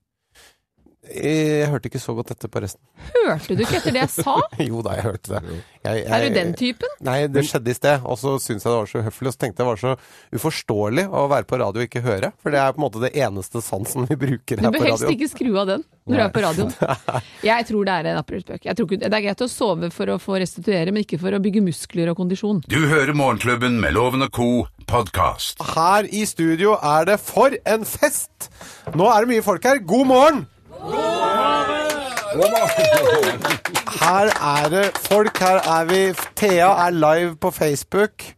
Speaker 2: Jeg hørte ikke så godt etter på resten.
Speaker 4: Hørte du ikke etter det jeg sa?
Speaker 2: Jo da, jeg hørte det. Jeg,
Speaker 4: Er
Speaker 2: jeg-
Speaker 4: du den typen?
Speaker 2: Nei, det skjedde i sted, og så syntes jeg det var så uhøflig. Og så tenkte jeg det var så uforståelig å være på radio og ikke høre. For det er på en måte det eneste sansen vi bruker
Speaker 4: Du
Speaker 2: her
Speaker 4: bør
Speaker 2: på
Speaker 4: helst
Speaker 2: radioen.
Speaker 4: ikke skru av den når du er på radioen. Jeg tror det er en aprilspøk. Jeg tror ikke- Det er greit å sove for å få restituere, men ikke for å bygge muskler og kondisjon.
Speaker 1: Du hører Morgenklubben med Loven og Co. podkast.
Speaker 2: Her i studio er det for en fest! Nå er det mye folk her. God morgen! Her er det folk. Her er vi. Thea er live på Facebook.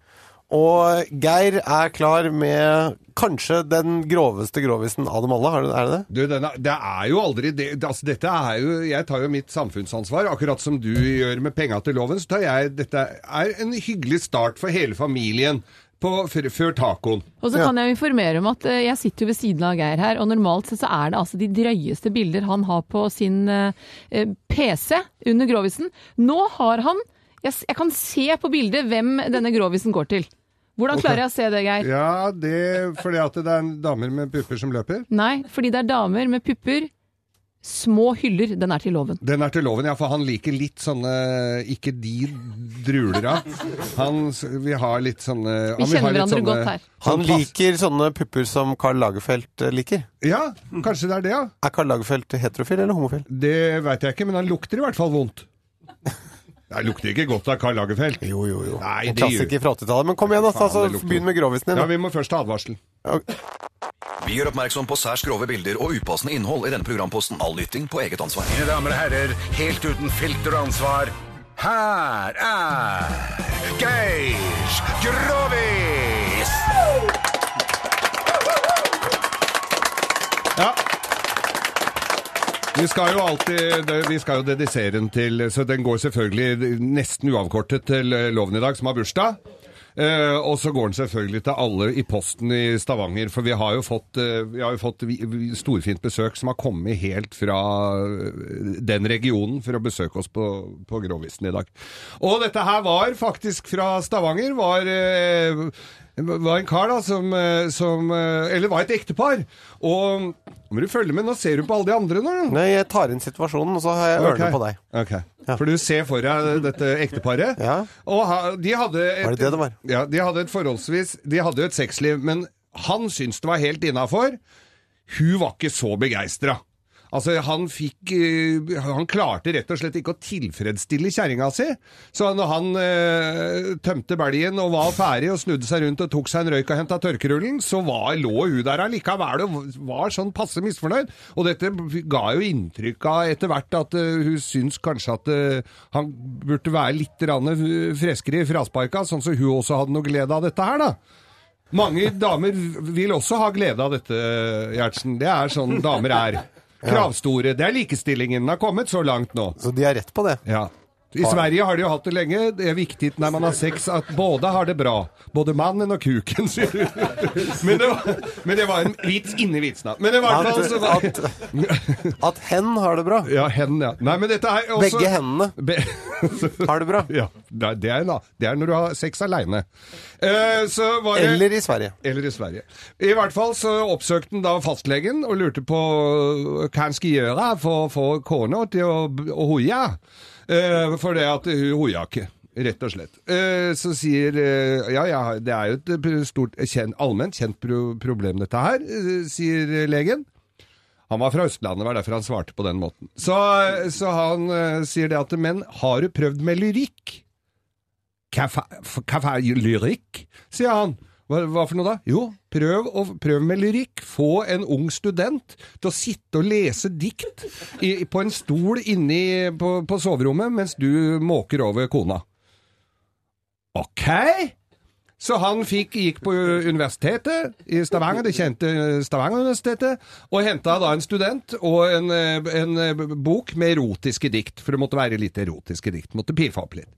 Speaker 2: Og Geir er klar med kanskje den groveste grovisen av dem alle. Har du- Er det det?
Speaker 3: Du, den er, det er jo aldri det, det- altså, Dette er jo Jeg tar jo mitt samfunnsansvar. Akkurat som du gjør med penga til loven, så tar jeg Dette er en hyggelig start for hele familien på, før, før tacoen.
Speaker 4: Og så kan jeg informere om at eh, jeg sitter jo ved siden av Geir her, og normalt sett så er det altså de drøyeste bilder han har på sin eh, eh, PC under grovisen. Nå har han jeg, s- jeg kan se på bildet hvem denne grovisen går til. Hvordan klarer jeg å se det, Geir?
Speaker 3: Ja, det fordi at det er damer med pupper som løper.
Speaker 4: Nei, fordi det er damer med pupper. Små hyller, den er til loven.
Speaker 3: Den er til loven, ja, for han liker litt sånne Ikke de drulera. Han s- vil ha litt sånne han vil
Speaker 4: Vi
Speaker 3: ha
Speaker 4: kjenner
Speaker 3: litt
Speaker 4: hverandre
Speaker 3: sånne-
Speaker 4: godt her.
Speaker 2: Han
Speaker 3: pass-
Speaker 2: liker sånne pupper som Carl Lagerfeldt eh, liker.
Speaker 3: Ja, kanskje det er det, ja.
Speaker 2: Er Carl Lagerfeldt heterofil eller homofil?
Speaker 3: Det veit jeg ikke, men han lukter i hvert fall vondt. Det lukter ikke godt av Karl Lagerfeldt.
Speaker 2: Jo, jo, jo.
Speaker 3: Nei,
Speaker 2: En
Speaker 3: det gjør-
Speaker 2: klassiker fra 80-tallet. Men kom igjen, altså.
Speaker 3: Faen, det
Speaker 2: altså,
Speaker 3: lukter-
Speaker 2: Begynn med grovisen din.
Speaker 3: Ja,
Speaker 2: da.
Speaker 3: vi må først ha advarsel.
Speaker 11: Vi gjør oppmerksom på særs grove bilder og upassende innhold i denne programposten. All lytting på eget ansvar.
Speaker 1: Mine damer og herrer, helt uten filter og ansvar, her er Geir Grovis!
Speaker 3: Ja. Vi skal jo alltid det- vi skal jo dedisere den til Så den går selvfølgelig nesten uavkortet til eh, Loven i dag, som har bursdag. Eh, og så går den selvfølgelig til alle i posten i Stavanger, for vi har jo fått, eh, vi har jo fått vi- vi- storfint besøk som har kommet helt fra eh, den regionen for å besøke oss på, på Grovisen i dag. Og dette her var faktisk fra Stavanger, var eh, var en kar da som, eh, som eh, Eller var et ektepar. Og nå må du følge med, nå ser du på alle de andre nå.
Speaker 2: Nei, jeg tar inn situasjonen, og så har jeg ørene på deg.
Speaker 3: Ok. For du ser for deg dette ekteparet.
Speaker 2: Ja.
Speaker 3: Og ha, de hadde et,
Speaker 2: Var det det det var?
Speaker 3: Ja, de hadde et forholdsvis De hadde jo et sexliv, men han syntes det var helt innafor. Hun var ikke så begeistra. Altså, han fikk eh, Han klarte rett og slett ikke å tilfredsstille kjerringa si. Så når han eh, tømte belgen og var ferdig og snudde seg rundt og tok seg en røyk og henta tørkerullen, så var, lå hun der allikevel og var sånn passe misfornøyd. Og dette ga jo inntrykk av etter hvert at eh, hun syns kanskje at eh, han burde være litt rann, eh, freskere i frasparka, sånn som hun også hadde noe glede av dette her, da. Mange damer vil også ha glede av dette, Gjertsen. Det er sånn damer er. Kravstore. Det er likestillingen. Den har kommet så langt nå.
Speaker 2: Så de har rett på det?
Speaker 3: Ja. I Sverige har de jo hatt det lenge. Det er viktig når man har sex at både har det bra. Både mannen og kuken, sier du. Men det var, men det var en vits inni vitsen. da. Men det var i hvert fall så var-
Speaker 2: At, at, at hen har det bra?
Speaker 3: Ja, hen, ja. Nei, men dette er også...
Speaker 2: Begge hendene.
Speaker 3: Har det bra? Ja, det er- det er, da. det er når du har sex Eh, aleine. Eller
Speaker 2: i Sverige.
Speaker 3: Eller i Sverige. I hvert fall så oppsøkte han da fastlegen og lurte på hva han skulle gjøre for å få kona til å, å hoie. Eh, for det at hun hoia ikke. Rett og slett. Eh, så sier eh, Ja, ja, det er jo et eh, stort, kjen- allment kjent pro problem, dette her, eh, sier eh, legen. Han var fra Østlandet, var derfor han svarte på den måten. Så, så han eh, sier det at Men har du prøvd med lyrikk? Hva fa- f- hva fa- lyrikk? sier han. Hva, hva for noe da? Jo, prøv, å, prøv med lyrikk. Få en ung student til å sitte og lese dikt i, på en stol inni på, på soverommet mens du måker over kona. Ok! Så han fikk, gikk på universitetet i Stavanger, det kjente Stavanger-universitetet, og henta da en student og en, eh, en eh, bok med erotiske dikt, for det måtte være litt erotiske dikt. Måtte piffe opp litt.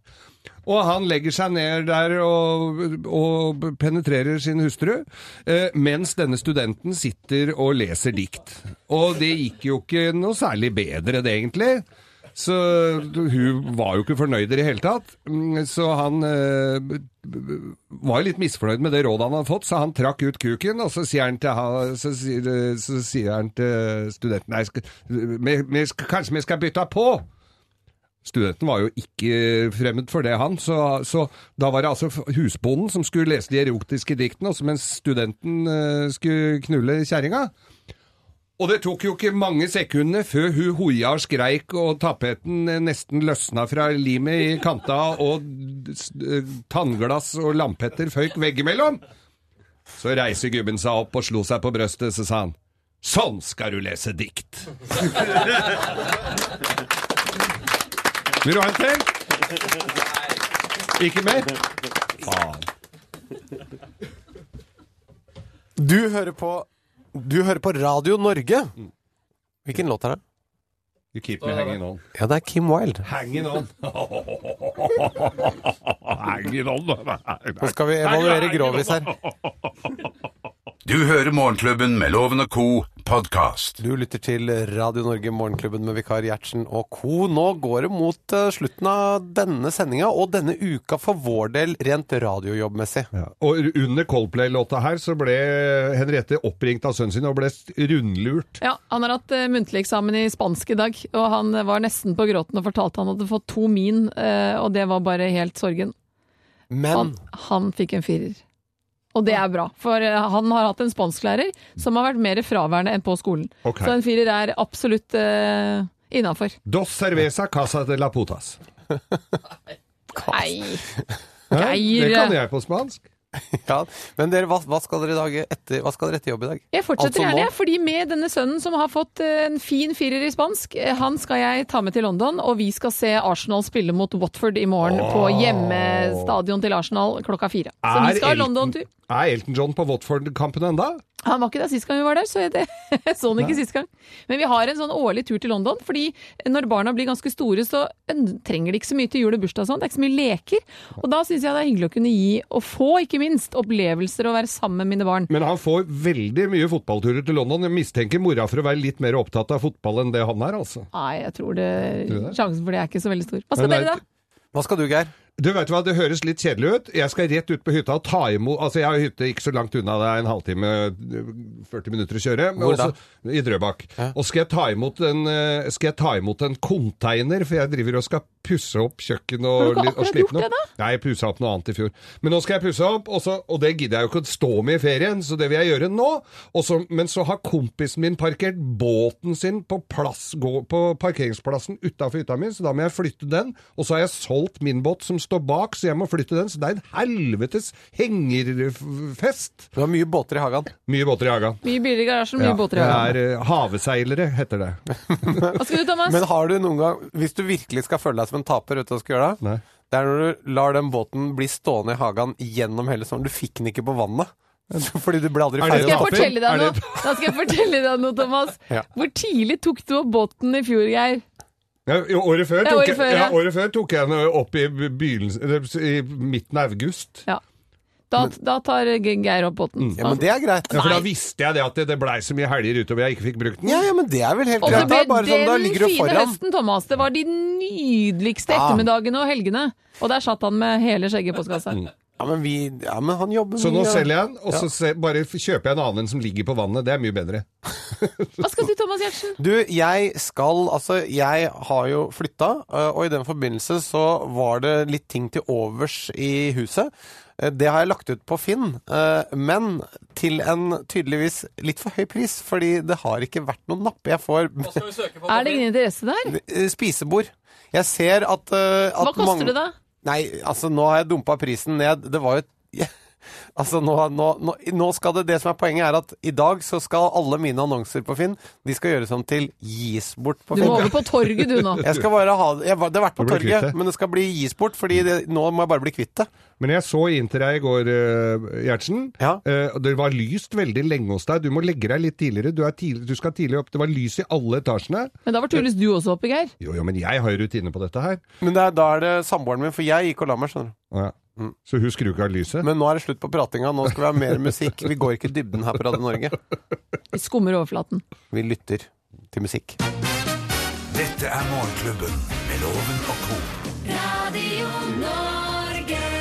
Speaker 3: Og han legger seg ned der og, og penetrerer sin hustru, eh, mens denne studenten sitter og leser dikt. Og det gikk jo ikke noe særlig bedre, det egentlig. Så hun var jo ikke fornøyd i det hele tatt. Mm, Så han eh, var jo litt misfornøyd med det rådet han hadde fått, så han trakk ut kuken, og så sier han til, han- så sier, så sier han til studenten Nei, skal, vi, vi, skal- kanskje vi skal bytte på? Studenten var jo ikke fremmed for det, han. Så, så da var det altså husbonden som skulle lese de erotiske diktene, også mens studenten eh, skulle knulle kjerringa. Og det tok jo ikke mange sekundene før hun hoia og skreik og tapeten eh, nesten løsna fra limet i kanta og d- s- eh, tannglass og lampetter føyk veggimellom. Så reiser gubben seg opp og slo seg på brøstet, så sa han Sånn skal du lese dikt! Vil du ha en til? Ikke mer? Faen.
Speaker 2: Du hører på Du hører på Radio Norge. Hvilken låt er det?
Speaker 3: You keep me hanging on.
Speaker 2: Ja, det er Kim Wilde.
Speaker 3: Hanging on. hanging on, da.
Speaker 2: Nå skal vi evaluere Grovis her.
Speaker 1: Du hører Morgenklubben med Loven og Co. podkast.
Speaker 2: Du lytter til Radio Norge, Morgenklubben med vikar Gjertsen og co. Nå går det mot eh, slutten av denne sendinga og denne uka for vår del rent radiojobbmessig.
Speaker 3: Og under Coldplay-låta her så ble Henriette oppringt av sønnen sin og ble rundlurt.
Speaker 4: Ja, Han har hatt eh, muntlig eksamen i spansk i dag, og han eh, var nesten på gråten og fortalte han hadde fått to min, eh, og det var bare helt sorgen.
Speaker 2: Men
Speaker 4: Han fikk en firer. Og det er bra, for eh, han har hatt en spansklærer som har vært mer fraværende enn på skolen.
Speaker 3: Ok.
Speaker 4: Så en firer er absolutt uh, innafor.
Speaker 3: Dos cerveza casa de la putas.
Speaker 4: Nei!
Speaker 3: Hæ?
Speaker 4: Geir.
Speaker 3: Det kan jeg på spansk.
Speaker 2: ja, men dere, hva, hva skal dere i dag etter, hva skal dere etter jobb i dag?
Speaker 4: Jeg fortsetter
Speaker 2: Altså nå.
Speaker 4: gjerne, jeg, fordi med denne sønnen som har fått eh, en fin firer i spansk, eh, han skal jeg ta med til London, og vi skal se Arsenal spille mot Watford i morgen på hjemmestadion til Arsenal klokka fire. Så vi skal ha London-tur.
Speaker 3: er Elton John på Watford-kampen enda?
Speaker 4: Han var ikke der sist gang vi var der, så jeg det, så han ikke
Speaker 3: Nei.
Speaker 4: sist gang. Men vi har en sånn årlig tur til London, fordi når barna blir ganske store, så en- trenger de ikke så mye til jul og bursdag og sånn. Det er ikke så mye leker. Og da syns jeg det er hyggelig å kunne gi, og få ikke minst, opplevelser og være sammen med mine barn.
Speaker 3: Men han får veldig mye fotballturer til London. Jeg mistenker mora for å være litt mer opptatt av fotball enn det han er, altså.
Speaker 4: Nei, jeg tror
Speaker 3: Tror du
Speaker 4: det,
Speaker 3: det?
Speaker 4: sjansen for det er ikke så veldig stor. Hva skal
Speaker 3: Men det er
Speaker 4: dere da?
Speaker 2: Hva skal du, Geir?
Speaker 3: Du vet hva, Det høres litt kjedelig ut. Jeg skal rett ut på hytta og ta imot Altså, Jeg har hytte ikke så langt unna, det er en halvtime, 40 minutter å kjøre. men
Speaker 2: Hvor da?
Speaker 3: også- I Drøbak. Og skal jeg, ta imot en, eh, skal jeg ta imot en container, for jeg driver og skal pusse opp kjøkken
Speaker 4: Har
Speaker 3: og,
Speaker 4: du ikke
Speaker 3: og
Speaker 4: akkurat
Speaker 3: slippe
Speaker 4: gjort
Speaker 3: noe.
Speaker 4: det da?
Speaker 3: Nei, jeg pussa opp noe annet i fjor. Men nå skal jeg pusse opp, og, så, og det gidder jeg jo ikke å stå med i ferien, så det vil jeg gjøre nå. Og så- men så har kompisen min parkert båten sin på, plass, gå, på parkeringsplassen utafor hytta mi, så da må jeg flytte den. Og så har jeg solgt min båt som står bak, så jeg må flytte den. Så det er en helvetes hengerfest.
Speaker 2: Du har mye båter i hagen?
Speaker 3: Mye båter i hagen.
Speaker 4: Mye biler i garasjen, mye
Speaker 3: Ja,
Speaker 4: båter i hagen.
Speaker 3: Det er eh, haveseilere, heter det.
Speaker 4: Hva skal du, Thomas?
Speaker 2: Men har du noen gang, hvis du virkelig skal føle deg som en taper, vet du hva du skal gjøre da? Det er når du lar den båten bli stående i hagen gjennom hele sommeren. Du fikk den ikke på vannet. Fordi du ble aldri
Speaker 4: Da skal
Speaker 2: ferdig
Speaker 4: jeg
Speaker 2: med
Speaker 4: fortelle deg noe,
Speaker 2: det-
Speaker 4: da skal jeg fortelle deg noe Thomas.
Speaker 2: Ja.
Speaker 4: Hvor tidlig tok du opp båten i fjor, Geir?
Speaker 3: Ja, jo, året, før
Speaker 4: Ja,
Speaker 3: tok
Speaker 4: året
Speaker 3: jeg,
Speaker 4: før,
Speaker 3: ja,
Speaker 4: ja.
Speaker 3: året før tok jeg den opp i, begynnelsen- eller i midten av august.
Speaker 4: Ja. Da, da tar Ge- Geir opp båten.
Speaker 2: Mm.
Speaker 3: Ja, men det
Speaker 2: er greit.
Speaker 3: Ja, for da visste jeg det at det, det blei så mye helger utover jeg ikke fikk brukt den.
Speaker 2: Ja, ja, men det er vel helt
Speaker 4: Og så
Speaker 2: greit.
Speaker 4: ble
Speaker 2: Det er bare
Speaker 4: den
Speaker 2: sånn, da ligger du
Speaker 4: fine
Speaker 2: foran. Ah.
Speaker 4: høsten, Thomas. Det var de nydeligste
Speaker 2: Ja.
Speaker 4: ettermiddagene og helgene. Og der satt han med hele skjegget i postkassa.
Speaker 2: Mm. Ja, men vi Ja, men han jobber
Speaker 3: Så nå
Speaker 2: mye, da.
Speaker 3: selger jeg den, og så
Speaker 2: Ja.
Speaker 3: se- bare f- kjøper jeg en annen enn som ligger på vannet. Det er mye bedre.
Speaker 4: Hva skal du, Thomas Giertsen?
Speaker 2: Du, jeg skal Altså, jeg har jo flytta, øh, og i den forbindelse så var det litt ting til overs i huset. Eh, Det har jeg lagt ut på Finn, eh, men til en tydeligvis litt for høy pris, fordi det har ikke vært noe napp. Jeg får
Speaker 4: Er det ingen interesse der?
Speaker 2: Eh, Spisebord. Jeg ser at, eh, at
Speaker 4: Hva koster det da?
Speaker 2: Nei, altså nå har jeg dumpa prisen ned. Det var jo Altså nå, nå, nå, nå skal det Det som er poenget, er at i dag så skal alle mine annonser på Finn De skal gjøres om til gis bort på
Speaker 4: Du
Speaker 2: Finn.
Speaker 4: må over på torget, du, nå.
Speaker 2: Jeg skal bare ha det jeg, var- Det har vært på
Speaker 3: Du blir kvitt
Speaker 2: torget,
Speaker 3: det.
Speaker 2: men det skal bli gis bort, fordi det, nå må jeg bare bli kvitt det.
Speaker 3: Men jeg så inn til deg i går, eh, Gjertsen. Eh, og det var lyst veldig lenge hos deg. Du må legge deg litt tidligere. Du, er tidlig, du skal tidlig opp. Det var lys i alle etasjene.
Speaker 4: Men da var tydeligvis du også oppe, Geir.
Speaker 3: Jo, jo, men jeg har jo rutine på dette her.
Speaker 2: Men det er, da er det samboeren min, for jeg gikk og la meg, skjønner du.
Speaker 3: Å ja.
Speaker 2: Mm.
Speaker 3: Så hun skrur ikke av lyset?
Speaker 2: Men nå er det slutt på pratinga, nå skal vi ha mer musikk. Vi går ikke i dybden her på Radio Norge.
Speaker 4: Vi skummer overflaten.
Speaker 2: Vi lytter til musikk.
Speaker 1: Dette er Morgenklubben med Loven og co.
Speaker 12: Radio Norge.